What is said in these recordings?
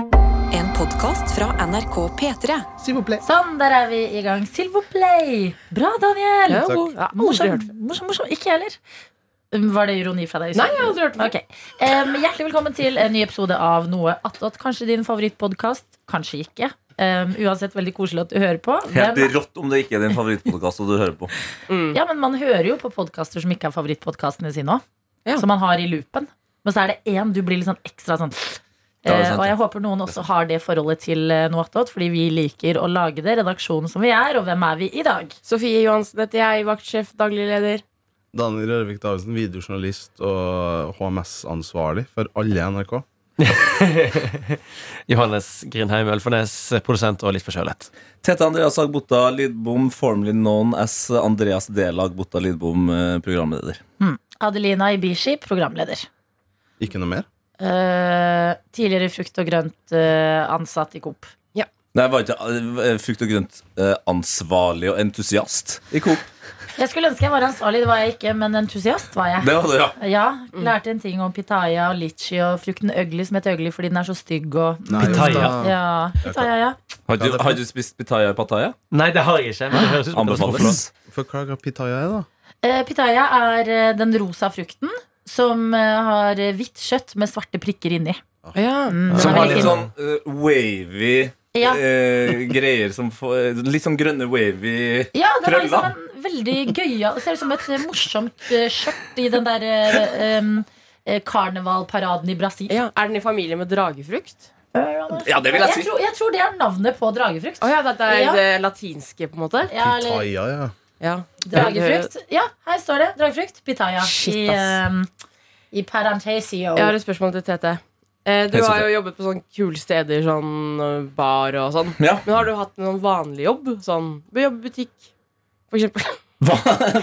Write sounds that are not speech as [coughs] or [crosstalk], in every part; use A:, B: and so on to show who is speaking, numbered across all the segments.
A: En podkast fra NRK P3.
B: S'il vous plaît.
C: Sånn, der er vi i gang. Silvo Play. Bra, Daniel.
D: Ja,
B: Takk.
D: god. Ja, aldri
C: Morsom,
D: hørt
C: morsom, morsom. Ikke jeg heller. Um, Var det ironi fra deg?
D: Nei, jeg har aldri hørt det.
C: Ok. Um, hjertelig velkommen til en ny episode av Noe attåt. Kanskje din favorittpodkast, kanskje ikke. Um, uansett veldig koselig at du hører på.
E: Helt
C: Men,
E: rått om det ikke er din favorittpodkast du hører på.
C: ja, men man hører jo på podkaster som ikke er favorittpodkastene sine òg.
D: Ja.
C: Som man har i loopen. Men så er det én du blir litt sånn ekstra sånn
E: Ja, det er
C: Eh,
E: sant,
C: og
E: ja.
C: jeg håper noen også har det forholdet til eh, Noe attåt, fordi vi liker å lage det. Redaksjonen som vi er, og hvem er vi i dag?
D: Sofie Johansen heter jeg, vaktsjef, daglig leder.
B: Daniel Rørvik Davidsen, videojournalist og HMS-ansvarlig for alle i NRK.
F: Johannes Grindheim Ølfernes, produsent og litt forkjølet.
E: [laughs] Tete Andreas Agbotta Lidbom, formerly known as Andreas Dela Agbotta Lidbom, eh, programleder.
C: Adelina Ibishi, programleder.
B: Ikke noe mer?
C: Eh, tidligere frukt og grønt eh, ansatt i Coop.
E: Nei, var ikke eh, frukt og grønt eh, ansvarlig og entusiast i Coop.
C: Jeg skulle ønske jeg var ansvarlig, det var jeg ikke, men entusiast var jeg.
E: Det var det, ja.
C: Ja, Lærte en ting om pitaya og litchi og frukten ugly som heter ugly fordi den er så stygg og
B: Nei,
F: Pitaya.
B: Jostein.
C: Ja, pitaya, ja.
E: Har du, har du spist pitaya i pataya?
F: Nei, det har jeg ikke. Men det høres ut som det var
E: Anbefales.
B: Forklar hva pitaya er, da.
C: Eh, pitaya er eh, den rosa frukten som eh, har eh, hvitt kjøtt med svarte prikker inni. Mm, den er
E: Som har
C: veldig
E: litt
C: fin.
E: sånn eh, wavy
C: ja.
E: eh, greier som får Litt sånn grønne wavy
C: ja, den er
E: Krølla.
C: liksom en veldig gøyal Ser ut som et eh, morsomt eh, skjørt i den der eh, em, eh, karnevalparaden i Brasil.
D: Ja. Er den i familie med dragefrukt?
E: Ja, det vil jeg
C: Jeg
E: si.
C: tror, jeg tror det er navnet på dragefrukt.
D: Å ja, dette er
C: Ja.
D: det latinske, på en måte?
C: Ja, eller
B: Pitaya, ja.
D: Ja.
C: dragefrukt. Ja, her står det. Dragefrukt. Pitaya.
D: Shit,
C: I,
D: ass.
C: ehm, i parentesio.
D: Jeg har et spørsmål til Tete. Eh, Du
E: Hei,
D: har
E: Tete.
D: jo jobbet på sånne kule steder, sånn eh, bar og sånn.
E: Ja.
D: Men har du hatt noen vanlig jobb? Sånn jobb i butikk, for eksempel?
E: Va-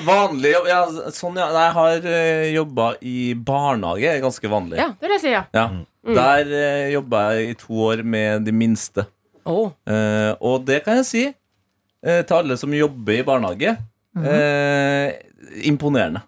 E: Vanlig jobb ja, Sånn, ja. Nei, Jeg har uh, jobba i barnehage. er Ganske vanlig.
D: Ja, det vil jeg si, ja.
E: Ja. Der uh, jobba jeg i to år med de minste.
D: Å.
E: Eh, og det kan jeg si eh, til alle som jobber i barnehage. eh, imponerende.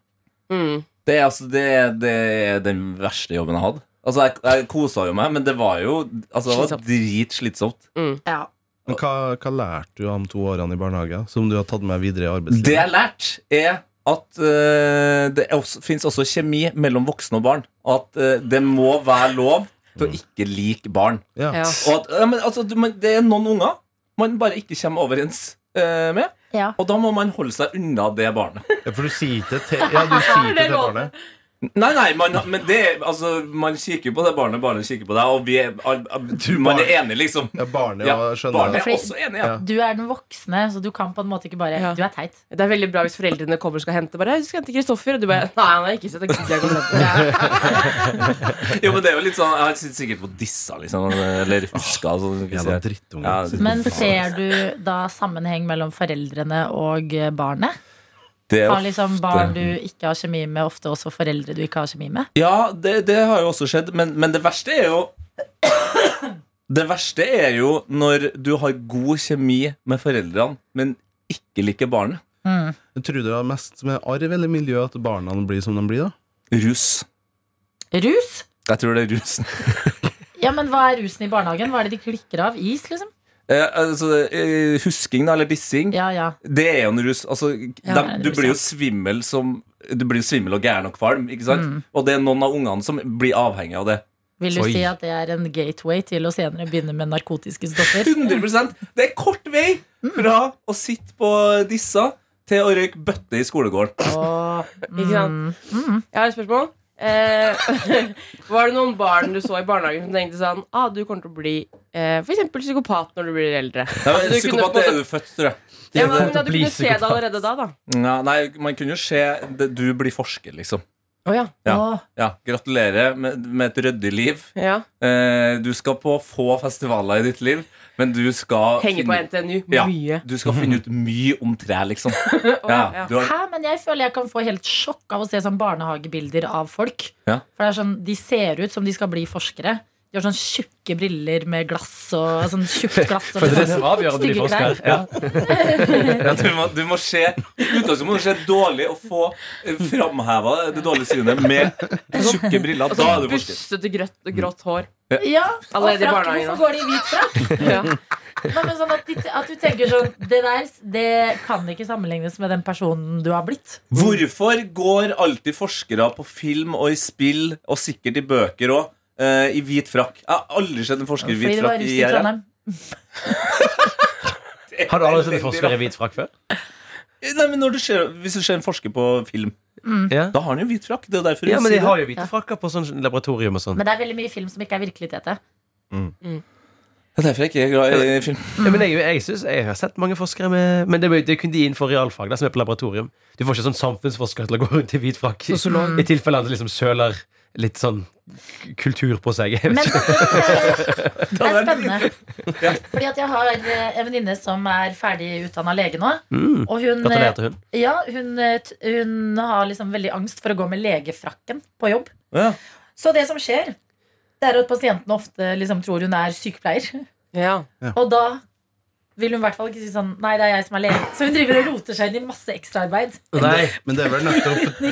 D: Mm.
E: Det er, altså, det, er- det er den verste jobben jeg hadde. Altså, jeg, jeg kosa jo meg, men det var jo altså, det var
D: Slitsomt.
E: dritslitsomt.
C: Ja.
B: Men hva, hva lærte du av de to årene i barnehage som du har tatt med videre i
E: Det jeg
B: arbeidslivet?
E: har lært, er at eh, det er også, finnes også kjemi mellom voksne og barn. Og at eh, det må være lov til å ikke like barn.
B: Ja.
D: Ja.
E: Og at, ja, men, altså, du- men det er noen unger man bare ikke kommer overens eh, med.
C: Ja.
E: Og da må man holde seg unna det barnet.
B: Ja, For du sier ikke til Ja,
D: [laughs]
B: du sier ikke til barnet.
E: Nei, nei, man, men det, altså, man kikker på det barnet, barnet kikker på deg, og vi er, al- al- du, man er enig, liksom.
B: Ja, barnet
E: Ja,
B: ja, skjønner
E: Barnet
B: det.
E: er også enig, ja.
B: Ja.
C: Du er den voksne, så du kan på en måte ikke bare
D: Ja.
C: Du er teit.
D: Det er veldig bra hvis foreldrene kommer og skal hente. Bare, jeg skal hente Kristoffer Og du bare Nei, han har jeg ikke sett. Jeg gidder ikke å hente ham.»
E: Jo, men det er jo litt sånn, jeg har sitt- sikkert på dissa, liksom, eller huska. Altså,
B: Jævla
E: sier.
B: drittunge.
E: Ja,
C: Men ser du da sammenheng mellom foreldrene og eh, barnet?
E: det er
C: Har liksom barn
E: ofte-
C: du ikke har kjemi med, ofte også foreldre du ikke har kjemi med?
E: Ja, det, det har jo også skjedd, men, men det verste er jo [coughs] Det verste er jo når du har god kjemi med foreldrene, men ikke liker barnet.
B: Men Tror du det har mest med arv eller miljø at barna blir som de blir, da?
E: Rus.
C: Rus?
E: Jeg tror det er rusen.
C: Ja, men hva er rusen i barnehagen? Hva er det de klikker av? Is, liksom?
E: Eh, altså, eh, husking, da, eller dissing.
C: Ja, ja.
E: Det er jo en rus. Altså,
C: det er
E: dem-
C: en
E: du
C: rus,
E: blir
C: ja.
E: jo svimmel som Du blir jo svimmel og gæren og kvalm, ikke sant?
C: Mm.
E: Og det er noen av ungene som blir avhengig av det.
C: Vil du
F: Oi.
C: si at det er en gateway til å senere begynne med narkotiske stoffer?
E: 100 Det er kort vei
C: Mm.
E: fra å sitte på dissa til å røyke bøtte
C: [laughs]
E: i skolegården.
C: Åh,
D: Ikke
C: Mm.
D: sant? Jeg har et spørsmål. Eh, [laughs] var det noen barn du så i barnehagen som tenkte sånn ah, du kommer til å bli eh, for eksempel psykopat når du blir eldre?
E: Ja,
D: At
E: men
D: du kunne
E: Psykopat
D: på en
E: er
D: måte-
E: du født, tror jeg.
D: Ja, men,
F: det
D: at du
F: blir
D: kunne se det
F: psykopat.
D: allerede da, da.
E: Ja, nei, man kunne jo se det, Du blir forsker, liksom.
D: Å ja.
E: Ja.
C: Åh.
E: Ja, Gratulerer med, med et ryddig liv.
D: ja.
E: Eh, du skal på få festivaler i ditt liv, men du skal
D: Henge på
E: finne,
D: NTNU.
E: Ja.
D: Mye.
E: du skal finne ut mye om tre, liksom.
D: [laughs] Å,
E: Ja,
D: ja.
E: du har,
C: Hæ, men jeg føler jeg kan få helt sjokk av å se sånn barnehagebilder av folk.
E: Ja.
C: For det er sånn, De ser ut som de skal bli forskere. De har sånn tjukke briller med glass og sånn
F: [laughs]
C: tjukt glass. Og
F: For det er det som avgjør om de
C: Stygge
F: får
C: klær.
F: Oscar. Ja.
E: ja, du, må, du må se Utgangspunktet må du se dårlig og få eh, framheva det dårlige synet med tjukke briller. Da er du Mm. forsker. [laughs]
D: Bustete, grøtt, grått hår.
C: Ja, og
D: Allerede i
C: frakk,
D: barnehagen,
C: hvorfor går de i hvit frakk?
D: Ja.
C: Nei, men sånn at, de- at du tenker sånn Det der det kan ikke sammenlignes med den personen du har blitt.
E: Hvorfor går alltid forskere på film og i spill, og sikkert i bøker òg, i hvit frakk? Jeg har aldri sett en forsker i
C: Fordi
E: hvit
C: det var
E: frakk.
C: russ
E: i
C: i
E: IRL.
C: Trondheim.
F: Har du aldri sett en forsker i hvit frakk før?
E: Nei, men når du ser, Hvis du ser en forsker på film,
F: Ja.
E: da har han jo hvit frakk. Det er derfor
F: ja,
E: hun
F: men de
E: sier
F: har
E: det.
F: jo hvite frakker på sånn laboratorium og sånn.
C: Men det er veldig mye film som ikke er virkelig
F: [laughs]
C: tete.
E: Det er derfor jeg ikke er glad i film.
F: Ja, men jeg, jeg, synes, jeg har sett mange forskere med Men det, er jo- det er kun de innenfor realfag da, som er på laboratorium. Du får ikke sånn samfunnsforsker til å gå rundt i hvit frakk. I tilfelle han liksom søler litt sånn kultur på seg. Jeg vet
C: Men
F: ikke.
C: det synes jeg er
E: vært
C: spennende. Fordi at jeg har eh, en venninne som er ferdig utdanna lege nå.
F: Mm.
C: Og hun, eh,
F: Gratulerer til hun.
C: ja, hun, eh, t- hun har liksom veldig angst for å gå med legefrakken på jobb.
E: Ja.
C: Så det som skjer, det er at pasienten ofte liksom tror hun er sykepleier. [laughs]
D: Ja.
C: Og da vil hun i hvert fall ikke si sånn Nei, det er jeg som er lege. Så hun driver og roter seg inn i masse ekstraarbeid.
F: Nei,
B: Men det er vel nettopp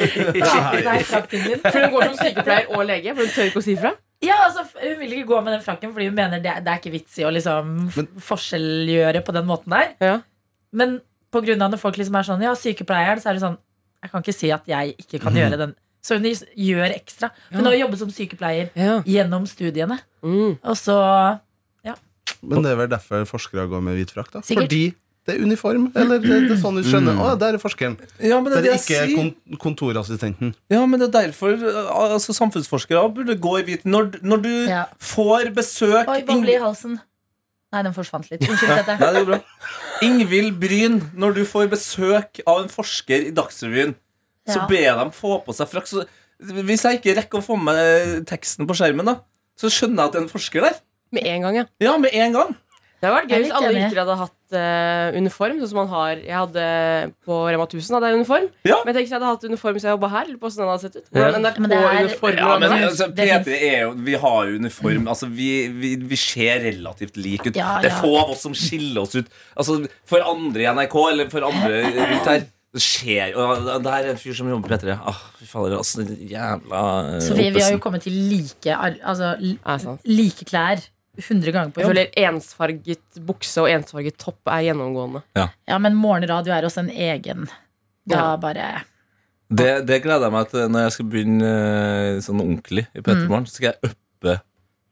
C: Ikke ta på seg frakken sin.
D: For hun går som sykepleier og lege, for hun tør ikke å si fra.
C: Ja, altså, f- Hun vil ikke gå med den frakken fordi hun mener det, er- det er ikke vits i å liksom f- forskjellgjøre på den måten der.
D: Ja.
C: Men på grunn av når folk liksom er sånn Ja, sykepleieren, så er det sånn Jeg kan ikke si at jeg ikke kan gjøre den. Så hun gis- gjør ekstra. Hun har jobbet som sykepleier gjennom studiene.
D: Mm.
C: Og så
B: Men det er vel derfor forskere går med hvit frakk? da
C: Sikkert.
B: Fordi det er uniform. Eller det, det er sånn du skjønner. Å, der er forskeren.
E: Ja, men det
B: Der
E: er det
B: er
E: jeg
B: ikke
E: sier.
B: kon kontorassistenten.
E: Ja, men det er derfor uh, altså, samfunnsforskere burde gå i hvit Når, når du
C: Ja.
E: får besøk
C: Oi, boble i halsen. Nei, den forsvant litt. Unnskyld
E: [laughs] Nei,
C: dette.
E: det går bra. Ingvild Bryn, når du får besøk av en forsker i Dagsrevyen, så
C: Ja.
E: ber de få på seg frakk. Så, hvis jeg ikke rekker å få med meg teksten på skjermen, da, så skjønner jeg at det er en forsker der.
D: Med en gang, ja.
E: Ja, med en gang.
D: Det hadde vært
C: Jeg er
D: gøy hvis
C: litt
D: alle
C: enig.
D: yrker hadde hatt eh, uniform, sånn som man har Jeg hadde på Rema 1000 hadde jeg uniform.
E: Ja.
D: Men tenk hvis jeg hadde hatt uniform hvis jeg jobba her. Lurer på hvordan den hadde sett ut.
F: Ja.
D: Hvordan
C: Men det er-
D: NRK-uniformen
E: Ja,
D: hadde
E: men
D: vært.
E: altså,
C: Det
E: PT
C: finnes-
E: er jo Vi har jo uniform. Altså, vi, vi, vi ser relativt like ut.
C: Ja,
E: Det er
C: ja.
E: få av oss som skiller oss ut. Altså, For andre i NRK, eller for andre rundt her Det skjer jo Det her er en fyr som jobber på P3. Ah, fy fader, altså, den jævla eh,
C: [laughs] Sofie, vi har jo
E: oppesen.
C: kommet til like, ar- altså, li-
D: Ja, sant.
C: like klær 100 ganger på
D: Jeg
C: jobb.
D: føler ensfarget bukse og ensfarget topp er gjennomgående.
C: Ja, men morgenradio er også en egen. Da
D: Ja.
C: bare
E: det, det gleder jeg meg til når jeg skal begynne eh, sånn ordentlig i
C: Mm.
E: P3 Morgen. Så skal jeg uppe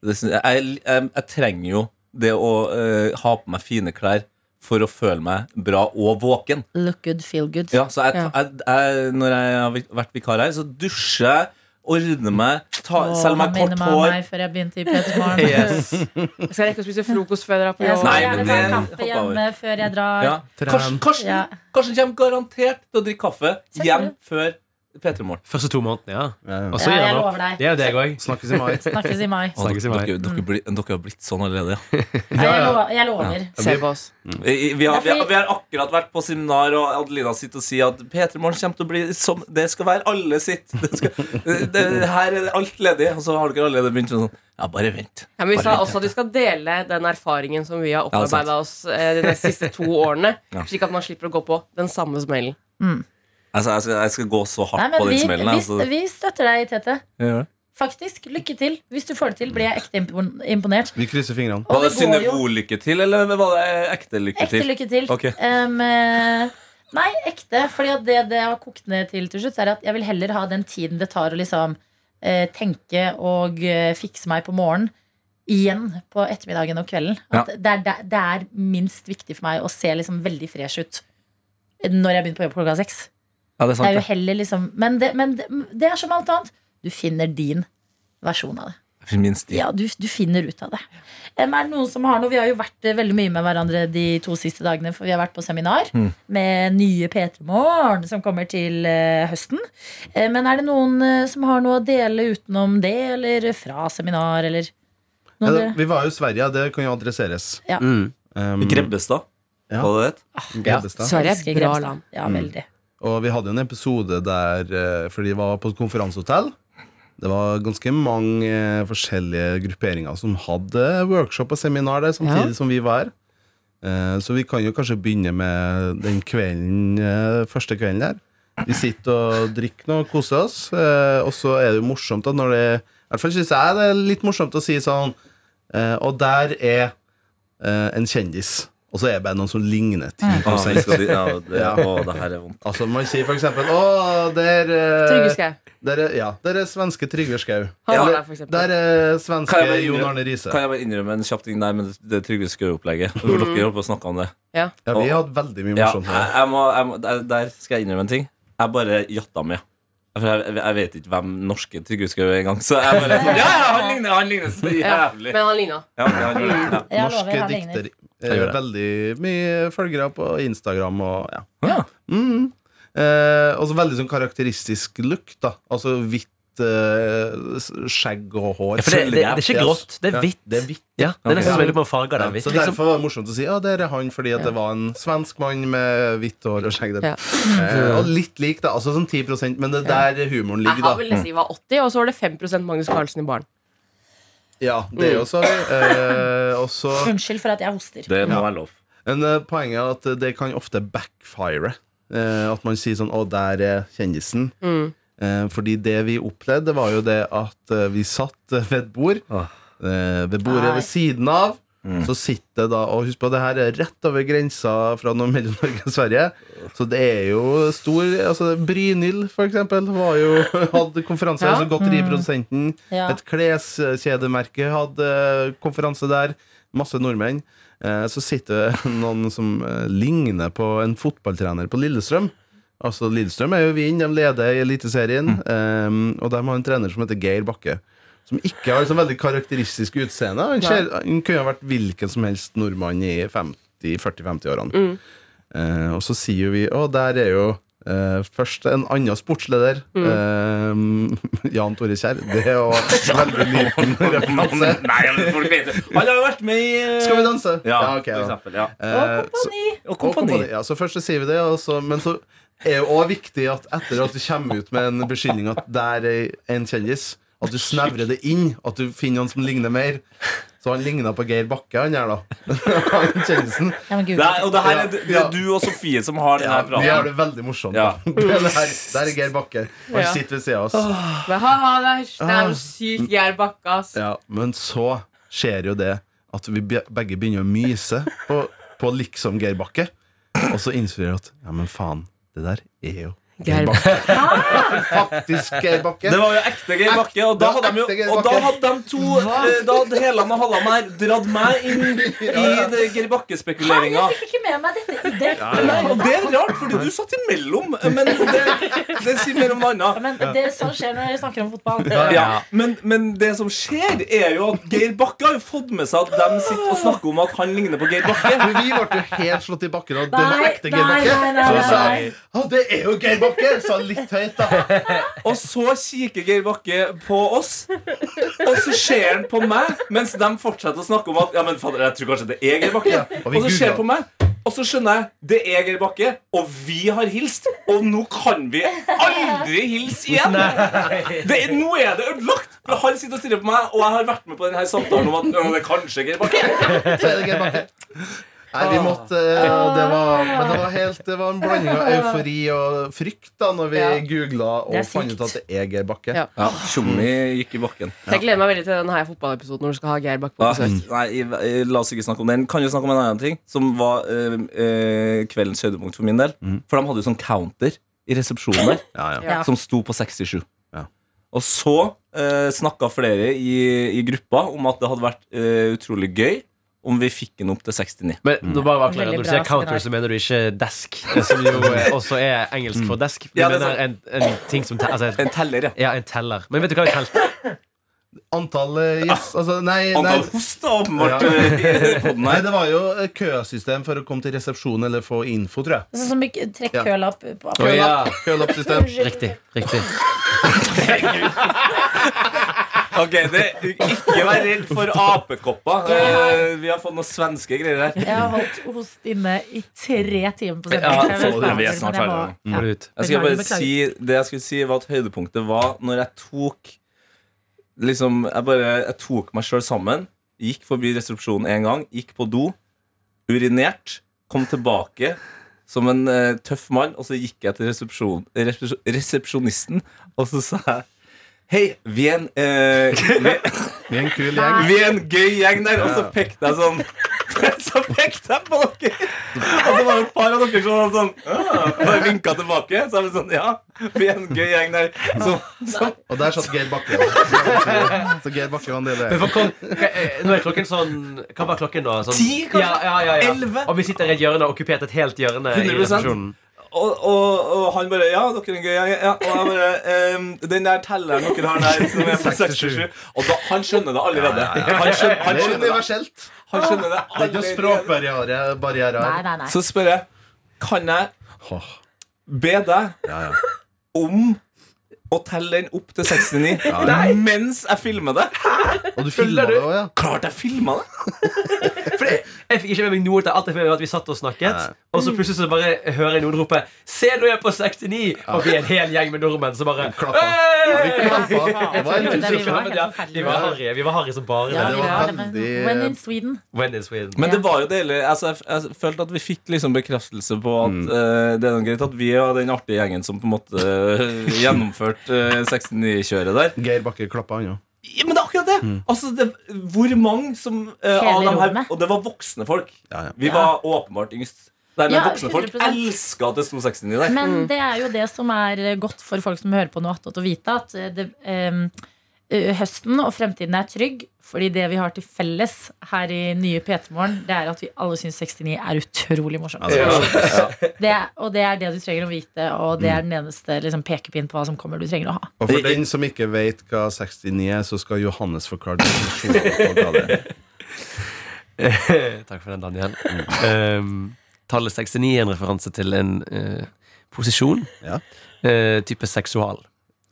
E: det synes jeg, jeg, jeg, jeg trenger jo det å eh, ha på meg fine klær for å føle meg bra og våken.
C: look good, feel good.
E: Ja, så jeg,
D: Ja.
E: Jeg, jeg, når jeg har vi- vært vikar her, så dusjer jeg, ordner meg, ta,
C: Åh,
E: selger meg
C: han minner
E: kort
C: meg om
E: hår
C: meg før jeg begynte i Petermorgen.
F: Yes.
D: Jeg skal rekke å spise frokost før jeg drar på
C: Jeg
D: jobb.
C: skal
E: Nei,
C: gjerne
E: men
C: ta en
E: det
C: kaffe
E: hopper over.
C: hjemme før jeg drar.
E: ja. Karsten, Karsten,
C: Ja.
E: Karsten kommer garantert til å drikke kaffe
C: Selvfølgelig.
E: hjem før P3 Morgen.
F: Første to månedene, ja.
B: Ja,
F: Og
B: ja.
C: Ja,
F: så gjør
C: jeg
F: han
C: lover deg.
F: Det er jo deg òg.
B: Snakkes i mai.
C: Snakkes i mai.
F: Snakkes i
E: Dere,
F: mai.
E: dere, blir- dere har blitt sånn allerede, ja.
C: Nei, jeg lover. Jeg lover.
D: Se på oss.
E: Mm. I- i- Vi har, vi,
C: Ja,
E: har,
C: fordi-
E: vi har akkurat vært på seminar, og Adelina sitter og sier at P3 Morgen kommer til å bli som Det skal være alle sitt. Det skal, det, det, her er alt ledig. Og så har dere allerede begynt sånn Ja, bare vent.
D: Ja, men vi sa
E: Bare-
D: også at vi skal dele den erfaringen som vi har
E: Ja, sant.
D: opparbeida oss eh, de siste
E: [laughs]
D: to årene.
E: Ja.
D: Slik at man slipper å gå på den samme smellen.
E: Altså, jeg, skal, jeg skal gå så
C: Nei,
E: hardt
C: men
E: på den
C: vi,
E: smellen.
C: vi,
E: Altså.
C: vi støtter deg, Tete.
E: Jeg gjør det.
C: Faktisk, lykke til. Hvis du får det til, blir jeg ekte impon- imponert.
B: Vi krysser fingrene.
C: Og
E: Var
C: det går
E: det
C: jo-
E: synnevol-lykke til, eller var det ekte lykke
C: Ekte
E: til?
C: lykke til.
E: Ok.
C: Em, eh, nei, ekte. Fordi at det det har kokt ned til til slutt, er at jeg vil heller ha den tiden det tar å liksom eh, tenke og eh, fikse meg på morgenen, igjen på ettermiddagen og kvelden. At det, er, der- det er minst viktig for meg å se liksom veldig fresh ut når jeg begynner på jobb klokka seks.
E: Ja, det er
C: Det
E: sant.
C: er jo
E: det.
C: heller liksom Men, det, men det, det er som alt annet. Du finner din versjon av det.
E: For min sti.
C: Ja, du, du finner ut av det. Em, Er det noen som har noe? Vi har jo vært eh, veldig mye med hverandre de to siste dagene, for vi har vært på seminar
E: Mm.
C: med nye P3 Morgen som kommer til eh, høsten. Eh, men er det noen eh, som har noe å dele utenom det, eller fra seminar, eller
B: Ja,
C: noen
B: det,
C: dere-
B: vi var jo i Sverige, ja, det kan jo adresseres.
C: Ja.
B: Mm. Um,
E: Grebbestad,
B: Ja.
E: var det det het?
B: Grebbestad.
D: Sverige er
C: Elsker
D: et bra
C: Grimstad.
D: land.
C: Ja, veldig.
B: Og vi hadde jo en episode der eh, For de var på et konferansehotell. Det var ganske mange eh, forskjellige grupperinger som hadde workshop og seminar der samtidig som vi var her. Eh, Så vi kan jo kanskje begynne med den kvelden, eh, første kvelden der. Vi sitter og drikker noe, koser oss. eh, Og så er det jo morsomt at når det I hvert fall syns jeg det er litt morsomt å si sånn eh, Og der er eh, en kjendis. Og så er det bare noen som ligner ti
E: Ah, vi
B: prosent.
E: skal dit. Ja, det,
B: Ja.
E: å, det her er vondt.
B: Altså Man sier for eksempel Å, der, eh,
D: Trygve Skau.
B: der, er, ja, der er svenske Trygve Skau.
D: Han var
E: Ja,
D: der, for eksempel.
B: Der er svenske
E: Kan jeg bare
B: Jon
E: innrømme-
B: Arne Riise.
E: Kan jeg bare innrømme en kjapp ting der med det- det Trygve Skau-opplegget?
C: Mm.
E: Hvor dere holdt på å snakke om det.
B: Ja, vi har hatt veldig mye
E: Ja,
B: morsomt.
E: jeg,
B: her.
E: jeg må, jeg må, der, der skal jeg innrømme en ting. Jeg bare jatta med. For jeg, jeg vet ikke hvem norske Trygve Skau er engang. Så jeg
C: [laughs]
E: bare sånn, Ja, ja, han ligner, han ligner så
D: Ja,
E: jævlig.
D: men han
E: Ja,
D: ligna.
E: ja, han gjør det, ja.
C: Jeg lover,
B: Norske
C: jeg har ligner.
B: dikter.
E: Jeg
B: Eh,
E: gjør det.
B: veldig mye følgere på Instagram og ja.
E: Ja.
B: Mm. Eh, og så veldig sånn karakteristisk lukt, da. Altså hvitt eh, s- skjegg og hår.
F: Ja, for det, det, det er ikke
B: Ja,
F: grått, det er
B: ja,
F: hvitt.
B: det er hvitt.
F: Ja, det er nesten som
B: Ok.
F: om man farger det
B: Ja,
F: hvitt.
B: så
F: Liksom.
B: derfor var det morsomt å si Ja, der er han, fordi at det var en svensk mann med hvitt hår og skjegg. Der. Eh, og litt lik, da. Altså sånn 10 men det er der humoren
D: Jeg
B: ligger, da.
D: har
B: Mm.
D: vel nesten var 80, og så var det 5 Magnus Carlsen i baren.
B: Ja, det er jo
D: Mm.
B: så eh, Og så
D: [laughs]
C: Unnskyld for at jeg hoster.
E: Det må være lov.
B: Men eh, poenget er at det kan ofte backfire. Eh, at man sier sånn 'Å, der er kjendisen'.
D: Mm.
B: Eh, fordi det vi opplevde, var jo det at eh, vi satt eh, ved et bord.
E: Åh.
B: Eh, ved bordet
C: Nei.
B: ved siden av. Så sitter det da Og husk på, det her er rett over grensa fra noe mellom Norge og Sverige. Så det er jo stor altså Brynhild, for eksempel, var jo, [laughs] hadde konferanse.
D: Ja. Mm.
B: Altså godteriprodusenten.
C: Ja.
B: Et kleskjedemerke hadde konferanse der. Masse nordmenn. Eh, Så sitter [laughs] det noen som eh, ligner på en fotballtrener på Lillestrøm. Altså Lillestrøm er jo vinn, de leder i Eliteserien.
E: Mm.
B: eh, Og de har en trener som heter Geir Bakke. Som ikke har et sånn veldig karakteristisk utseende. Han, ser, han kunne ha vært hvilken som helst nordmann i 40-50-årene.
E: Mm.
B: Eh, og så sier jo vi Å, der er jo eh, først en annen sportsleder.
E: Mm.
B: eh, [laughs] Jan Tore Kjær. Det
E: [laughs]
B: er jo veldig liten referanse.
E: Nei, men folk vet det. Han har jo vært med i eh,
B: Skal vi danse?
E: Ja,
B: ok,
E: for eksempel. Ja.
B: Eh, så-
C: Kompani!
E: Og
B: og
E: kompani.
B: kompani. Ja, så først så sier vi det, og så, men så er det òg viktig at etter at du kommer ut med en beskyldning at der er en kjendis, at du snevrer det inn. At du finner noen som ligner mer. Så han ligna på Geir Bakke, han her, da. [laughs] han kjendisen.
C: Ja, men gud.
E: Det er, og det her er det
B: Ja.
E: er du og Sofie som har den
B: Ja,
E: her
B: vi har
E: praten.
B: det veldig morsomt.
E: Ja.
B: da. [laughs] Det er det her, der er Geir Bakke. Han
D: Ja.
B: sitter ved siden av oss.
D: Men haha, det er, det er jo sykt Geir Bakke, ass.
B: Ja, men så skjer jo det at vi be- begge begynner å myse på, på liksom Geir Bakke. Og så innser vi at ja, men faen, det der er jo
D: Geir
B: Geir Bakke. Faktisk Geir Bakke.
E: Det var jo ekte Geir Bakke, og da
B: det var
E: hadde de,
B: ekte Geir
E: jo, og da
B: Bakke.
E: hadde de to eh, Da hadde Heland og Halland her dratt meg inn
B: [laughs]
E: i det Geir Bakke-spekuleringa.
C: Jeg fikk ikke med meg dette. Det,
E: Nei, og det er rart, fordi du satt imellom. Men det, det sier mer om noe annet.
C: Men det er sånn skjer når dere snakker om fotball.
E: Ja, men, men det som skjer, er jo at Geir Bakke har jo fått med seg at de sitter og snakker om at han ligner på Geir Bakke.
B: For vi ble jo helt slått i bakken av den
C: Nei,
B: ekte
C: nei,
B: Geir Bakke.
C: nei, nei,
B: Så jeg sa
C: nei.
B: Å, det er jo Geir Bakke! Sa han litt
C: [laughs]
B: høyt, da.
E: Og så kikker Geir Bakke på oss, og så ser han på meg mens de fortsetter å snakke om at Ja, men fader, jeg tror kanskje det er Geir Bakke.
B: og
E: Og
B: vi
E: så ser han
B: googlet.
E: på meg, og så skjønner jeg det er Geir Bakke, og vi har hilst. Og nå kan vi aldri hilse igjen. Det er, nå er det ødelagt. For han sitter og stirrer på meg, og jeg har vært med på denne samtalen om at «Ja, det er kanskje Geir Bakke.
B: Så er det Geir Bakke. Nei, vi måtte eh, og det var, Men det var helt Det var en blanding av eufori og frykt da Når vi
D: Ja.
B: googla
C: Det er
B: og fant ut at
C: sykt.
B: det er Geir Bakke.
D: Ja.
E: Ja, Tjommi gikk i bakken.
D: Jeg gleder meg veldig til den her fotballepisoden hvor du skal ha Geir Bakke på
E: Ja,
B: Ah,
D: besøk.
E: nei, i- i- la oss ikke snakke om den. Kan jo snakke om en annen ting, som var eh, eh, kveldens høydepunkt for min del. For de hadde jo sånn counter i resepsjonen [laughs] der,
B: Ja, ja.
C: Ja.
E: som sto på 67.
B: Ja.
E: Og så uh, snakka flere i, i gruppa om at det hadde vært eh, utrolig gøy om vi fikk den opp til 69.
F: Men nå bare bare
C: Veldig
F: når du
C: bra
F: sier counter,
C: seminar.
F: så mener du ikke desk, som [laughs] jo eh, også er engelsk for desk. Du
E: Ja, det er
F: mener en, en ting som te- altså,
E: En teller, ja.
F: Ja, en teller. Men vet du hva en teller
B: Antall eh, yes, altså, nei, nei,
E: Antall host, da, åpenbart.
B: Ja.
E: eh, i podden
B: nei,
E: her.
B: det var jo eh, køsystem for å komme til resepsjonen eller få info, tror jeg.
C: Sånn som vi trekker
B: Ja.
C: kølapp på
F: Å, ja.
B: Kølappsystem.
F: Riktig. riktig
E: [laughs] Ok, det, Ikke vær redd for apekopper. Eh, vi har fått noen svenske greier her.
C: Jeg har holdt host inne i tre timer på
E: Ja,
C: sending. så jeg
E: så
C: vet
E: det-
C: ikke
E: vi er
C: hva
E: snart
C: som
E: ferdig.
C: var-
F: Må du ut.
E: Jeg skal bare
C: Beklager,
E: si, det jeg skulle si var at høydepunktet var når jeg tok Liksom, jeg bare Jeg tok meg sjøl sammen. Gikk forbi resepsjonen én gang, gikk på do, urinert, kom tilbake som en eh, tøff mann, og så gikk jeg til resepsjon, resepsjon, resepsjonisten, og så sa jeg Hei, vi er en eh, vi,
B: Vi er en kul gjeng.
E: vi er en gøy gjeng der. Og så pekte jeg sånn. [laughs] Så pekte jeg på dere! Og så var det et par av dere som var sånn «Ah», Bare vinka tilbake. Så jeg var sånn Ja, vi er en gøy gjeng der. Så, så,
B: Og der satt Geir Bakke. også. Så Geir Bakke var en del av
F: Men
B: det.
F: for, kon- eh, nå er klokken sånn Hva var klokken da? Sånn,
E: Ti, kanskje?
F: Ja, ja, ja, ja.
E: Elleve?
F: Og vi sitter i et hjørne, okkupert et helt hjørne. i
E: 100%.
F: resepsjonen.
E: og, og, og han bare Ja, dere er en gøy gjeng. Ja. Og jeg bare ehm, Den der telleren dere har der, som er på 67 Og da, han skjønner det allerede. Han skjønner, han
B: Det er
E: skjønner, det.
B: universelt.
E: Han skjønner det
B: Det er ikke noe
E: allerede.
B: språkbarriere. barriere
C: Nei,
B: her.
C: nei, nei.
E: Så spør jeg Kan jeg
B: Åh,
E: be deg
B: Ja, ja.
E: om å telle den opp til 69 mens jeg filmer det?
B: Og du filma det òg, ja.
E: Klart jeg filma det!
F: For det, jeg fikk ikke med meg noe til alt jeg fikk med meg var at vi satt og snakket. Og så plutselig så bare hører jeg noen rope 'Se, nå er jeg på 69!' Og vi er en hel gjeng med nordmenn som bare
B: Klappa. Vi
F: «Hey!»
B: klappa. Det var en
C: Jeg tror
B: tusen
C: det vi var helt
F: Ja, Vi var
C: forferdelige.
F: harry, vi var harry som bare
C: Ja,
F: det.
B: det
C: vi
B: var
C: var det, men-
B: veldig-
C: When in Sweden.
F: When in Sweden.
E: Men det
C: Ja.
E: var jo deilig. Altså, jeg, jeg følte at vi fikk liksom bekreftelse på at eh, det er noe greit at vi var den artige gjengen som på en måte eh, gjennomførte eh, 69-kjøret der.
B: Geir Bakke klappa, han òg.
E: Ja, men det er akkurat det! Altså, det hvor mange som eh, av
C: Hele
E: dem her
C: rommet.
E: Og det var voksne folk.
B: Ja, ja.
E: Vi var åpenbart yngst. Nei, men
C: Ja,
E: voksne folk
C: 100%.
E: elska at det sto 69 der.
C: Men
B: Mm.
C: det er jo det som er godt for folk som hører på noe attåt å vite, at eh, det, em, eh, høsten og fremtiden er trygg. Fordi det vi har til felles her i nye P3morgen, det er at vi alle syns 69 er utrolig morsomt. Det er, og det er det du trenger å vite, og det er
E: Mm.
C: den eneste liksom, pekepinn på hva som kommer du trenger å ha.
B: Og for den som ikke vet hva 69 er, så skal Johannes forklare definisjonen på hva det er.
F: Takk for den, Daniel. Um, tallet 69 er en referanse til en eh, posisjon.
B: Ja.
F: Eh, type seksual.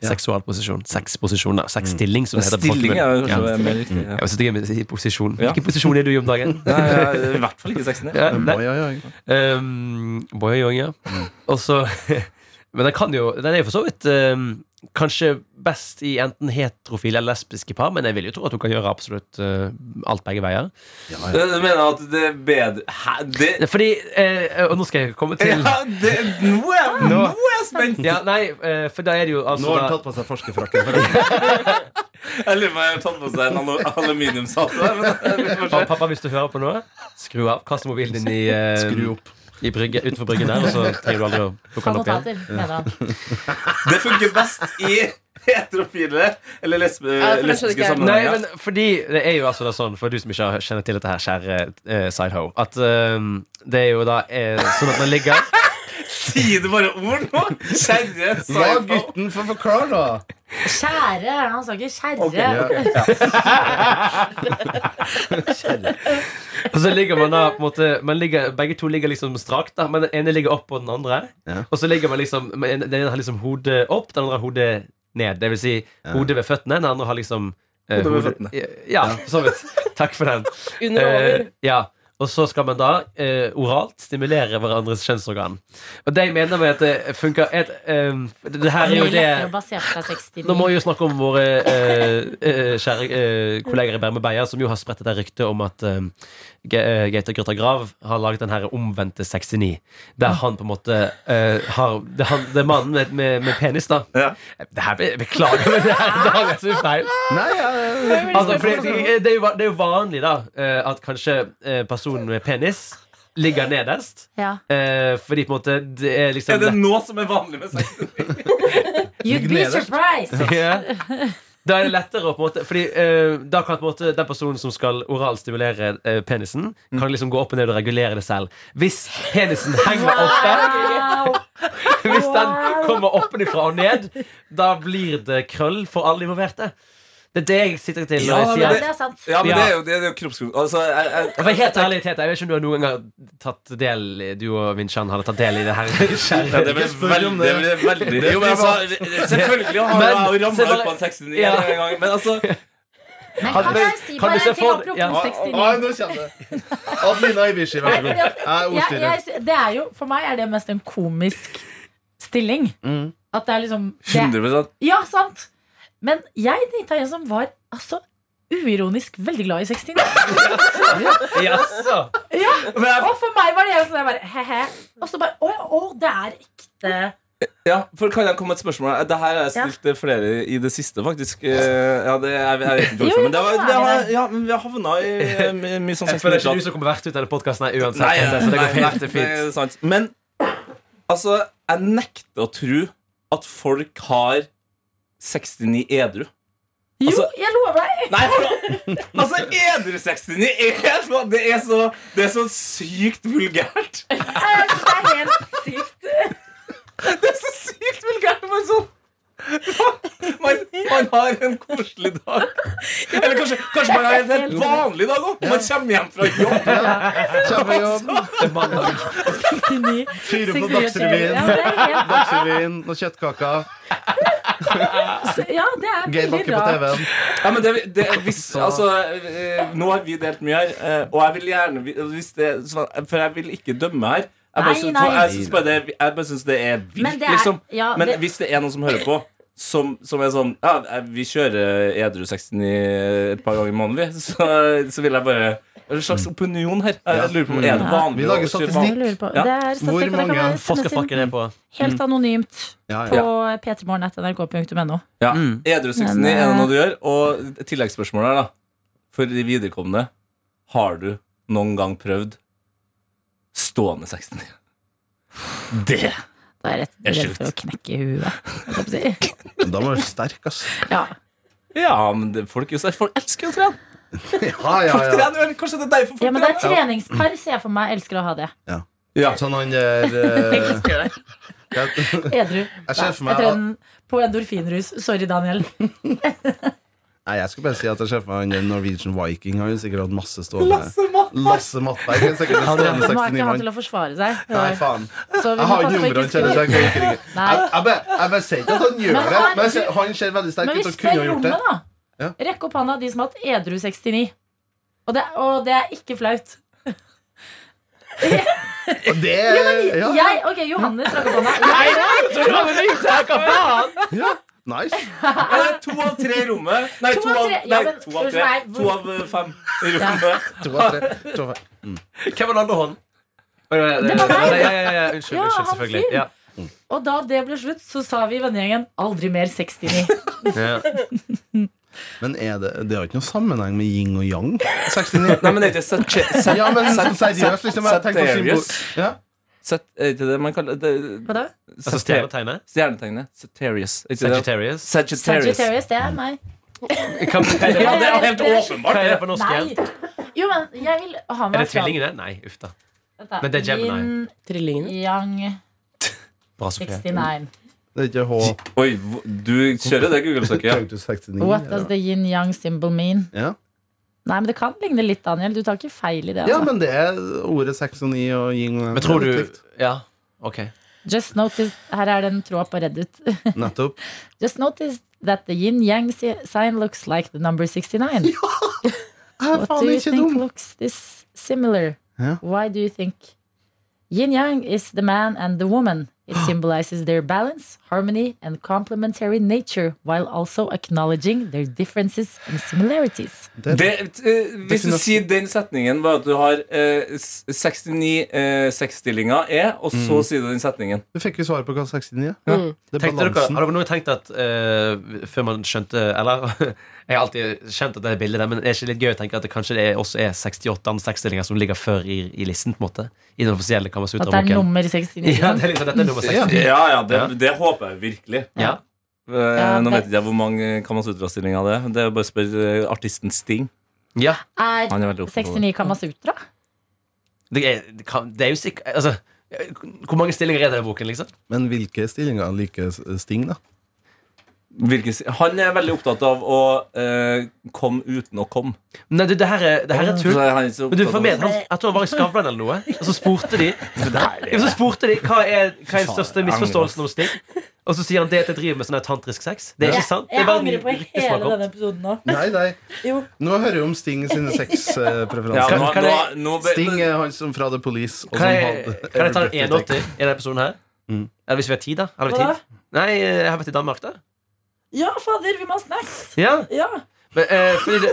B: Ja.
F: Seksualposisjon. Sexposisjon. da. Sexstilling, som det heter. på
E: Mm. Stilling er jo
F: folkemunne.
E: kanskje mer riktig. Ja. Mm.
F: Ja, Jeg synes det er med- i posisjon.
E: Ja.
F: Hvilken posisjon er du i om dagen?
E: [laughs] Nei, jeg er I hvert fall ikke 69.
F: Ja, nei.
B: Oi, oi, oi.
F: Um, Boy og Young, ja.
E: Mm.
F: Og så [laughs] Men den kan jo Den er jo for så vidt um, kanskje best i enten heterofile eller lesbiske par, men jeg vil jo tro at hun kan gjøre absolutt uh, alt begge veier.
E: Eh, Du mener at det er bedre Hæ? Det,
F: Fordi eh, Og nå skal jeg komme til
E: ja, det Nå er jeg, nå er jeg spent!
F: Ja, nei, eh, for da er det jo altså
B: Nå har han
F: da-
B: tatt på seg forskerfrakken.
E: Jeg lurer på om jeg har tatt på seg en alu- aluminiumshatt. der, men vi får
F: Pa-
E: se.
F: Pappa, hvis du hører på noe, skru av. Kast mobilen din i, eh,
B: Skru opp.
F: i brygge, utenfor bryggen der, og så trenger du aldri å plukke
C: Ta
F: den opp igjen.
C: notater, mener han.
E: Det funker best i heterofile eller lesbe,
D: Ja, for det skjønner ikke
E: lesbiske
D: jeg.
F: Nei,
E: sammenhenger.
F: men fordi det er jo altså da sånn, for du som ikke har- kjenner til dette her, kjære eh, sideho, at eh, det er jo da eh, sånn at man ligger
E: Sier du bare ord nå? Kjerre
B: La
E: Saibo.
B: gutten få forklare, da!
C: Kjære! Han sa ikke kjære.
B: Ja, ok.
F: Og så ligger man da på en måte man ligger, Begge to ligger liksom strakt, da, men den ene ligger opp på den andre.
B: Ja.
F: Og så ligger man liksom men Den ene har liksom hodet opp, den andre har hodet ned. Det vil si hodet ved føttene, den andre har liksom eh,
E: Hodet ved føttene.
F: Ja, for så vidt. [laughs] Takk for den.
B: mm.
D: Under og over.
F: Eh, ja. Og så skal man da eh, oralt stimulere hverandres kjønnsorgan. Og det jeg mener med at det funker et, eh, det, det her er jo
C: Mye
F: det
C: lettere å basere seg 69.
F: nå må vi jo snakke om våre eh, eh, kjære eh, kolleger i Berme Beia, som jo har spredt dette ryktet om at eh, Ge- eh, Gaute Grøtta Grav har laget den her omvendte 69. Der han på en måte eh, har Det er, han, det er mannen med, med, med penis, da.
E: Ja.
F: Det her be- Beklager, men det her det her er så feil.
B: Nei, ja,
F: Altså, fordi, det, er jo, va- det er jo vanlig, da, eh, at kanskje eh, personen med penis ligger nederst.
C: Ja.
F: eh, fordi på en måte det er liksom
E: Er det nå som er vanlig med sex?
C: You'd be
B: Nederst.
C: surprised!
E: [laughs]
F: Ja. Da er det lettere å på en måte Fordi eh, da kan på en måte den personen som skal oralstimulere eh, penisen,
E: Mm.
F: kan liksom gå opp og ned og regulere det selv. Hvis penisen henger oppe,
C: Wow!
F: hvis den kommer oppenifra og ned, da blir det krøll for alle involverte. Det er det jeg sitter til
E: Ja,
F: når jeg
E: men
C: Ja,
F: sier
C: det er sant.
E: Ja, men
F: Ja.
E: det er jo, det er jo kroppskrop. Altså, jeg, jeg,
F: for helt ærlig, Tete, jeg vet ikke om du har noen gang tatt del i- Du og Vinchan hadde tatt del i det
E: [laughs]
F: her.
E: Nei,
F: [laughs]
E: det ble
B: Ikke spør
E: veldig,
B: om
E: det
B: det.
E: ble veldig
B: Det
E: jo, men,
B: blir bra.
E: altså, Selvfølgelig har
F: Men-
E: jeg jo
F: se
E: ramla
F: bare-
E: ut på en 69
F: Ja.
E: en gang, men altså
C: Men
F: Kan
C: kan
F: du-
C: jeg si
F: kan
C: bare
F: du se
C: en ting
F: for- ja.
C: apropos 69?
B: ja. Nå kommer det. Adelina Ibishi, vær så god. Jeg er
C: jeg, jeg,
B: ordstyrer.
C: sy- det er jo, for meg er det mest en komisk stilling. At det er liksom det,
E: 100
C: Ja, sant! Men jeg data en som var altså uironisk veldig glad i 69.
F: Jaså?
C: Og for meg var det en sånn jeg bare he-he. Og så bare å, ja, å, det er ekte
E: Ja, for Kan jeg komme med et spørsmål? Det her har jeg stilt eh, flere i det siste, faktisk. Eh, Ja, det, jeg, jeg vet ikke
C: Jo,
E: hvorfor, men det var,
C: jo,
E: det har,
C: det
E: ja, men vi har havna i eh, my- mye sånn
F: Jeg føler ikke
E: seksuelt-
F: du som kommer verst ut av denne podkasten uansett.
E: Nei,
F: Tete, så det går
E: nei,
F: helt
E: nei,
F: fint.
E: det er sant. Men altså, jeg nekter å tro at folk har 69 edru.
C: Jo,
E: Altså-
C: jeg lover deg!
E: Nei, hold da. Altså, edru 69 er så, det, er så, det er så sykt vulgært.
C: Jeg synes Det er helt sykt.
E: Det er sånn. så sykt vulgært. Man, sånn. man, man har en koselig dag. Eller kanskje, kanskje man har en helt vanlig dag òg. Man kommer hjem fra jobb.
B: Kjempejobb. Fyre på
C: 69 Ja,
B: Dagsrevyen.
C: det er helt,
B: Dagsrevyen, noen kjøttkaker,
C: ja, det er
B: Geir
C: veldig
B: Bakke på
C: rart.
B: TV-en.
E: Ja, men det, det, hvis, altså, eh, nå har vi delt mye her, eh, og jeg vil gjerne vi- hvis det, sånn, For jeg vil ikke dømme her. Jeg bare
C: Nei,
E: syns-
C: nei.
E: for jeg syns bare, det- jeg bare syns det er vilt,
C: Men det er-
E: liksom.
C: ja,
E: men
C: det-
E: hvis det er noen som hører på, som, som er sånn Ja, jeg- vi kjører edru 69 et par ganger i måneden, vi. [laughs] Så, så vil jeg bare det er En slags opinion her. Jeg lurer på om Er det vanlig
B: Mm. Vi lager
E: å kjøre
B: statistikk.
C: Jeg lurer på.
E: Ja.
C: Det er statistikk, og det kan
B: mange
C: være- sendes inn
F: Forskerfrakken er på.
C: Helt anonymt
B: Ja,
C: på
B: ja.
C: p3morgen.nrk.no.
E: Ja, Edru 69
C: Men,
E: er det
C: eh,
E: noe du gjør. Og tilleggsspørsmålet her, da. For de viderekommende. Har du noen gang prøvd stående 69? Det!
C: Da er jeg rett-
E: Jeg er
C: redd for å knekke huet. holdt jeg på å
B: [laughs]
C: si.
B: [laughs] Men Da må du være sterk, ass.
C: Ja.
E: Ja, men det, folk, er jo så- folk elsker jo å trene.
B: [laughs] Ja, ja,
E: Folk
B: ja.
E: trener, jo, Kanskje det er derfor folk
C: ja, men det er
E: trener?
C: treningspar, ser jeg for meg. Elsker å ha det.
E: Ja.
B: Sånn han [laughs] der eh, jeg-
C: Edru.
B: Jeg ser for meg
C: Nei, jeg tror
B: at-
C: den- på endorfinrus. Sorry, Daniel.
B: Nei, jeg skulle bare si at jeg ser for meg han der Norwegian Viking. Han har sikkert hatt masse stående
E: Lasse Mattberg!
B: Lasse Mattberg er sikkert en
C: Nå
B: stående
C: er
B: 69
C: ikke han
B: mann.
C: til å forsvare seg.
B: Nei, faen.
C: Så vi
B: Jeg
C: må
B: har
C: passe
B: ikke
C: på ikke
B: nummeret han
C: skrive-
B: kjenner seg ikke riktig. Jeg,
C: Nei.
B: jeg, bare- jeg bare sier ikke at han gjør
C: Men
B: det, men jeg
C: herregud.
B: ser, han ser veldig sterk
C: Men
B: ut
C: vi
B: og kunne ha
C: spør
B: gjort det.
C: rommet, da.
B: Ja.
C: Rekk opp hånda de som har hatt edru 69. Og det, og det er ikke flaut.
B: Og det er- ja,
C: Jeg, ok,
B: [laughs]
C: Johannes rakk opp hånda. Jeg,
B: ja. Nice.
E: Eh, To av tre i rommet. Nei,
C: To
E: to
C: av
E: av,
C: tre. Ja,
E: nei,
C: men-
E: to av, tre.
C: Nei,
E: To av eh, fem i rommet.
B: To av tre. To av fem.
F: Hvem var den andre hånden? Oi, oi, oi,
C: Det var meg.
F: Ja, ja, ja, ja, Unnskyld,
C: Ja, han
F: unnskyld, selvfølgelig.
C: fyren.
F: Ja.
C: Og da det ble slutt, så sa vi i vennegjengen aldri mer 69.
F: Ja.
B: Men er det, det har ikke noe sammenheng med yin og yang? 69?
E: [laughs] Nei, men det er ikke sat- [laughs] sat-
B: Ja, men sånn seriøst, liksom. Jeg tenkte på symbol... Ja.
E: sat- Er ikke det man kaller det?
C: Hva
B: [laughs]
C: da?
F: Altså stjernetegnet?
E: Stjernetegnet. Sagittarius. Er ikke det-
F: Sagittarius?
E: Sagittarius.
C: Sagittarius, det er meg.
F: Hva hva er det-
E: Ja, det er helt
F: hva
E: åpenbart.
F: er det på norsk igjen?
C: Nei! Jo, men jeg vil ha
F: Er
C: meg
F: det tvillingene? Nei, uff da.
C: Vent da.
F: Men det er Gemini.
D: Trillingen.
C: Yin Yang
F: Bra, Sofie.
C: 69.
B: Det er ikke H.
E: Oi, hvor- du kjører det Google-søket, ja.
B: Tenkte du 69,
C: What
B: eller?
C: does the yin yang symbol mean?
B: Ja.
C: Nei, men det kan ligne litt, Daniel. Du tar ikke feil i det.
B: ja,
C: Altså.
B: men det er ordet 69 og yin og yang.
F: Men tror
B: Det er
F: du
B: litt
F: Ja, OK.
C: Just notice, Her er det en tråd på Reddit. [laughs]
B: likt. Nettopp.
C: Just notice that the yin yang si- sign looks like the number 69.
B: Jeg er
C: What do
B: faen
C: you
B: ikke
C: think
B: dum.
C: looks this similar?
B: Ja.
C: Why do you think? Yin Yang is the man and the woman. [gasps] It symbolizes their balance, harmony, and complementary nature, while also acknowledging their differences and similarities.
E: Det, eh, hvis du
B: Definasjon.
E: sier den setningen bare at du har eh, s- 69 eh, sexstillinger er, og
F: Mm.
E: så sier du den setningen.
B: Du fikk jo svaret på hva 69 er.
E: Mm.
B: Det er
F: Tenkte dere, har
B: balansen.
F: dere noen tenkt at eh, Før man skjønte Eller [laughs] jeg har alltid skjønt at det er bildet der, men er det ikke litt gøy å tenke at det kanskje det er, også er 68 andre seksstillinger som ligger før i, i listen? på en måte I den offisielle
C: At det er
F: Kamasutra-boken?
C: nummer 69.
F: [laughs] Ja, det er liksom, dette er nummer 60.
E: Ja, ja, det,
F: Ja.
E: det håper jeg virkelig.
F: Ja.
E: Eh,
C: Ja,
E: Nå
C: det-
E: vet ikke jeg hvor mange Kamasutra-stillinger det er. Det er bare å spørre eh, artisten Sting.
F: ja.
C: Er
E: Han er veldig opptatt av det.
C: 69 Kamasutra?
F: Det, er, det kan, det er jo sikkert altså, Hvor mange stillinger er det i den boken, liksom?
B: Men hvilke stillinger liker Sting, da?
E: Hvilken sti- Han er veldig opptatt av å eh, komme uten å komme.
F: Nei, du, det her er, det her er
E: Så
F: tull.
E: han er ikke så
F: Men du
E: opptatt av-
F: får med, han, Jeg tror han var i Skavlan eller noe. Og så spurte de Ja,
E: altså.
F: Så spurte de hva er, hva er den største misforståelsen hos Sting. Og så sier han det at jeg driver med sånn her tantrisk sex. Det er ikke sant. Det er
C: Jeg
F: bare en
C: angrer på
F: rykte som har
C: hele
F: kommet.
C: denne episoden nå.
B: Nei, nei.
C: Jo.
B: Nå hører vi om Sting sine
E: ja,
B: sexpreferanser.
E: nå,
F: Kan- kan
E: nå,
F: jeg- eh.
E: nå, be-
B: Sting
E: [laughs]
B: er han som fra The Police. Og
F: Kan
B: som
F: jeg,
B: hadde
F: kan jeg ta en
B: Every
F: 81
B: Birthday.
F: i denne episoden her?
B: Mm.
F: Eller hvis vi har tid, da? Har vi
C: Hva da?
F: tid? Nei, eh, jeg har vært i Danmark, da.
C: Ja, fader, vi må ha snacks!
F: Ja.
C: Ja.
F: Men, eh, fordi det,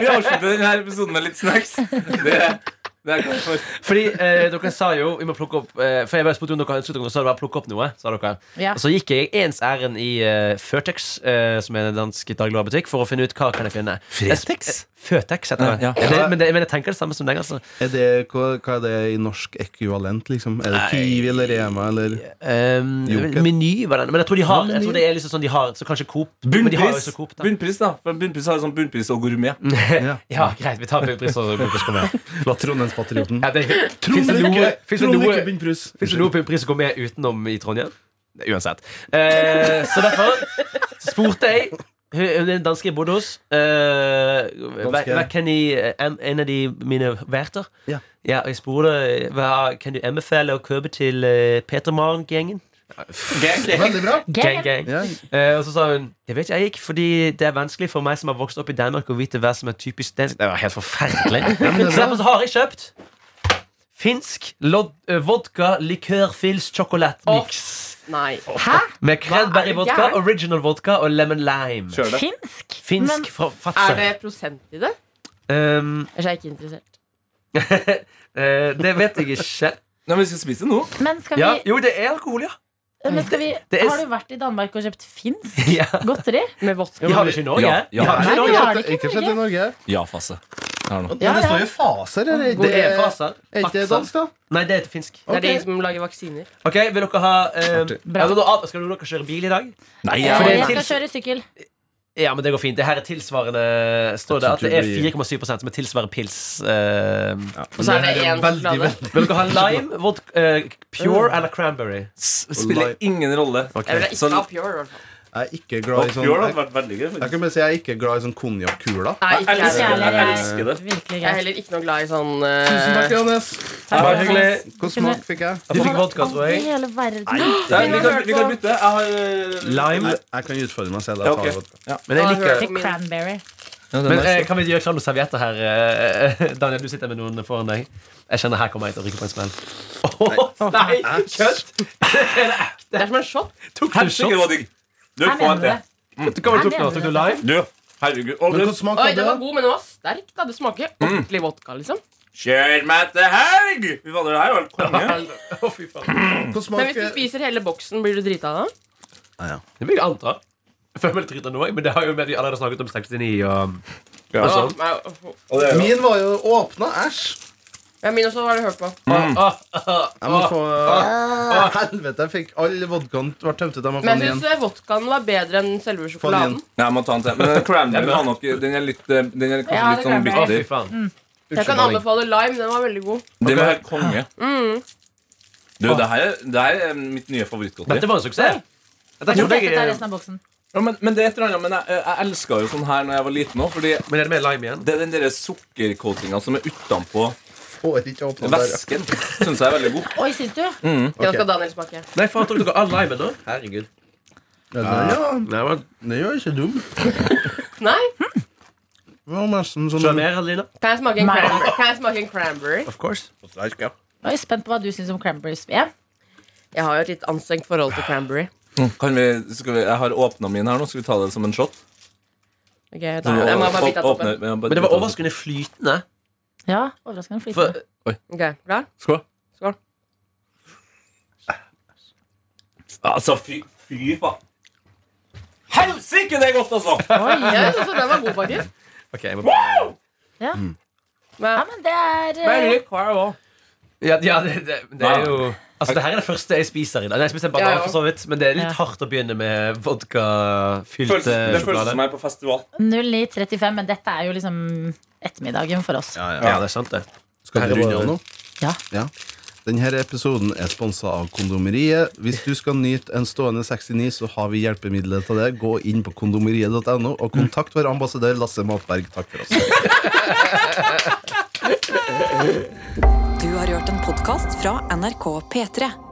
E: Vi avslutter denne episoden med litt snacks. Det, det Det er jeg glad for.
F: Fordi eh, dere sa jo Vi må plukke opp eh, For jeg bare spurte om dere ønsket dere Så sa dere bare plukke opp noe Sa dere
C: Ja.
F: Og så gikk jeg ens ærend i eh, Føtex eh, Som er en dansk dagligvarebutikk For å finne ut hva kan jeg finne
E: Fretex?
F: Føtex heter det
E: Ja, ja.
F: Er det- men, det, men jeg tenker det samme som den altså.
B: Er det, hva, hva er det i norsk ekvivalent, liksom? Er det Kiwi eller Rema eller
F: um,
E: Ehm,
B: Joker.
F: Meny var den Men jeg tror de har
B: Ja,
F: Jeg tror det er liksom sånn de har Så kanskje Coop Men de har jo
E: Bunnpris,
F: også Coop da Mm.
E: bunnpris, da. For bunnpris har jo sånn bunnpris og gourmet.
F: Ja, greit Vi tar bunnpris og Coop kommer med
B: Trondheimspatrioten?
F: ja, det, Finnes
B: Trond
F: det noe
B: Lykke!
F: Finnes det
B: Trond
F: noe
B: Lykke Bunnpris.
F: Fins det noe bunnpris som går med utenom i Trondheim? Nei, Uansett. Eh, så derfor spurte jeg hun hun er en danske jeg bodde hos. Eh, hva, hva kan jeg, em- en av de mine verter.
B: Ja.
F: og jeg spurte hva kan du anbefale å kjøpe til eh, Peter Maren-gjengen.
B: Veldig bra.
F: Gang,
C: Gøy.
F: gang.
B: Ja.
F: Eh, og så sa hun det vet jeg ikke, fordi det er vanskelig for meg som har vokst opp i Danmark, å vite hva som er typisk dansk. Det var helt forferdelig.
B: det er
F: så
B: bra.
F: derfor så har jeg kjøpt finsk lodd, eh, vodka likørfils sjokolademiks.
D: Nei.
F: Med
D: Hva er
F: cranberry-vodka,
D: det?
F: original vodka og lemon lime.
E: Kjør det.
C: Finsk?
F: Finsk
C: Men-
F: fra
D: Er
F: Fatser.
D: det prosent i det?
F: Um,
D: Ellers er jeg ikke interessert.
F: eh, det vet jeg ikke.
E: Nei, men vi skal spise det nå.
C: Men skal vi,
F: Ja. Jo, det er alkohol, ja.
C: men skal vi
F: Det er-
C: Har du vært i Danmark og kjøpt finsk
F: ja.
C: godteri?
D: Med vodka.
F: Vi har det ikke i Norge.
E: Ja, ja.
F: Vi har det
C: Nei,
F: ikke i
C: vi
F: Norge.
C: har det ikke i
B: Ikke slett i
C: Norge.
B: Norge.
E: Ja-fase. Her nå.
C: Ja,
B: Men det
C: ja.
B: står jo faser. Er det,
F: Det er faser.
B: Er ikke det
F: Fatser.
B: dansk, da?
F: Nei, det er finsk.
D: Det er de
B: Ok.
D: som lager vaksiner.
F: Ok, vil dere ha eh,
C: Bra.
F: altså, da- Skal dere kjøre bil i dag?
E: Nei,
C: Eh,
E: jeg,
F: det er
C: Jeg skal
F: tils-
C: kjøre sykkel.
F: Ja, men det går fint. Det her er tilsvarende Står det at det er 4,7 som er tilsvarende pils. eh,
D: Og så er det én sjokolade.
F: Vil dere ha lime, vodka, eh, pure eller cranberry?
E: s- spiller ingen rolle.
D: Jeg vil ikke
E: Sånn,
D: ha Pure, i hvert fall.
B: Jeg er ikke glad i sånn
E: Pure hadde
B: Jeg
E: vært veldig gøy.
B: jeg kan bare si jeg er ikke glad i sånn konjakkuler.
D: Nei,
E: Jeg
D: ikke jeg
E: elsker
D: heller.
E: det.
C: Nei,
E: Jeg elsker det.
C: Virkelig
D: Jeg er
C: greit.
D: heller ikke noe glad i sånn
B: Tusen takk,
D: eh,
B: Johannes.
F: Bare
C: Takk.
F: hyggelig.
B: God smak fikk jeg.
F: Du fikk vodka, tror
C: Aldri i
F: jeg.
C: hele verden.
E: Nei, vi, kan, vi kan bytte. Jeg har eh,
F: Lime.
B: Jeg, jeg kan utfordre meg selv.
E: Ja,
B: Jeg
E: ok.
B: tar vodka.
E: Ja.
F: Men jeg liker
C: Til cranberry.
F: Men eh, Kan vi gjøre klar noen servietter her? eh, [laughs] eh, Daniel, du sitter med noen foran deg. Jeg kjenner her kommer jeg til å ryke på en smell. Åh, nei, kødd!
D: Det er som en shot.
F: Tok du
E: Helsike, det
F: shot?
E: var digg. Du,
C: Jeg
E: få en
C: mener
E: til.
C: det.
F: Du kom og
C: Jeg
F: tok den,
C: mener
F: tok du
C: det.
F: lime?
E: Du, herregud.
B: Men
E: Olden,
B: hva smak
D: Oi,
B: hadde
D: den var
B: det?
D: god, men den var sterk. da Det smaker
B: Mm.
D: ordentlig vodka, liksom.
E: kjør meg til helg! Fy fader, det her var helt konge.
F: Å, fy faen.
B: Hva
D: Men hvis
B: smak
D: du spiser hele boksen, blir du drita da?
F: Det vil jeg anta. Jeg føler meg litt drita nå, jeg, men det har jo vi allerede snakket om 69 og
E: Ja.
F: Altså,
B: Sånn.
D: Nei,
E: Og det er jo-
B: Min var jo åpna. Æsj.
D: Ja, min også har du hørt på.
B: Jeg må få Å, Helvete, jeg fikk all vodkaen ble tømt ut. Jeg må få
D: Men
B: den
D: jeg
B: igjen.
D: syns vodkaen var bedre enn selve
B: Få den
D: sjokoladen.
B: igjen.
E: Nei, jeg må ta en til. Men den cranberry
F: Ja,
E: har nok Den er litt eh, Den er kanskje
D: Ja,
E: litt
F: Å,
E: sånn
D: det cranberry.
E: bitter.
F: fy faen.
C: Mm.
D: Jeg kan anbefale lime. Den var veldig god.
E: Det var helt konge. Du, det her, er- det her er mitt nye favorittgodteri.
F: Dette var en suksess. Dette
C: Jeg tror
F: trodde
C: dette er
F: jeg
C: resten av boksen.
E: Ja, men, men det er et eller annet Men jeg, jeg elska jo sånn her Når jeg var liten òg, fordi
F: Men er det med lime igjen?
E: det er den derre sukkercoatinga som er utenpå
B: Får ikke åpna der. ja.
E: væsken, syns jeg er veldig god.
C: Oi, syns du?
D: Ja, skal Daniel smake.
F: Nei, faen, tok dere all limen nå? Herregud.
B: Ja,
F: Nei, men
B: det var ikke dum.
D: Nei?
B: Det var nesten sånn
F: Skjønner dere, Lina?
D: Kan jeg smake en
C: Nei.
D: cranberry? Kan jeg smake en cranberry?
F: Of course.
C: Nå er jeg spent på hva du syns om cranberries. Ja.
D: Jeg har jo et litt anstrengt forhold til cranberry.
E: Kan vi, skal vi, jeg har åpna min her nå. Skal vi ta det som en shot?
D: Ok, da, jeg må bare bite av toppen.
F: Men det var overraskende flytende.
C: ja overraskende
F: For
C: flytende.
D: Ok, klar?
E: Skål.
D: Skål.
E: Altså, fy, fy faen. Helsike, det er godt, altså!
C: Oi, ja.
D: Jeg synes den var god, faktisk.
F: Ok, jeg må bare
C: ja,
D: Men
C: men det er eh,
D: veldig klar også.
F: Ja, ja det, det, det er jo Altså, det her er det første jeg spiser i dag. Nei, Jeg spiser
D: Ja,
F: banan,
D: ja.
F: for så vidt, men det er
C: Ja.
F: litt hardt å begynne med vodkafylt
E: Føles,
F: eh,
E: det føles
F: sjokolade.
E: som jeg er på festival.
C: eh, 09.35, men dette er jo liksom ettermiddagen for oss.
B: Ja,
F: Ja, det er sant, det.
B: Skal vi runde av nå?
C: Ja.
B: Denne episoden er sponsa av Kondomeriet. Hvis du skal nyte en stående 69, så har vi hjelpemidler til det. Gå inn på kondomeriet.no og kontakt vår ambassadør Lasse Matberg. Takk for oss.
A: Du har hørt en podkast fra NRK P3.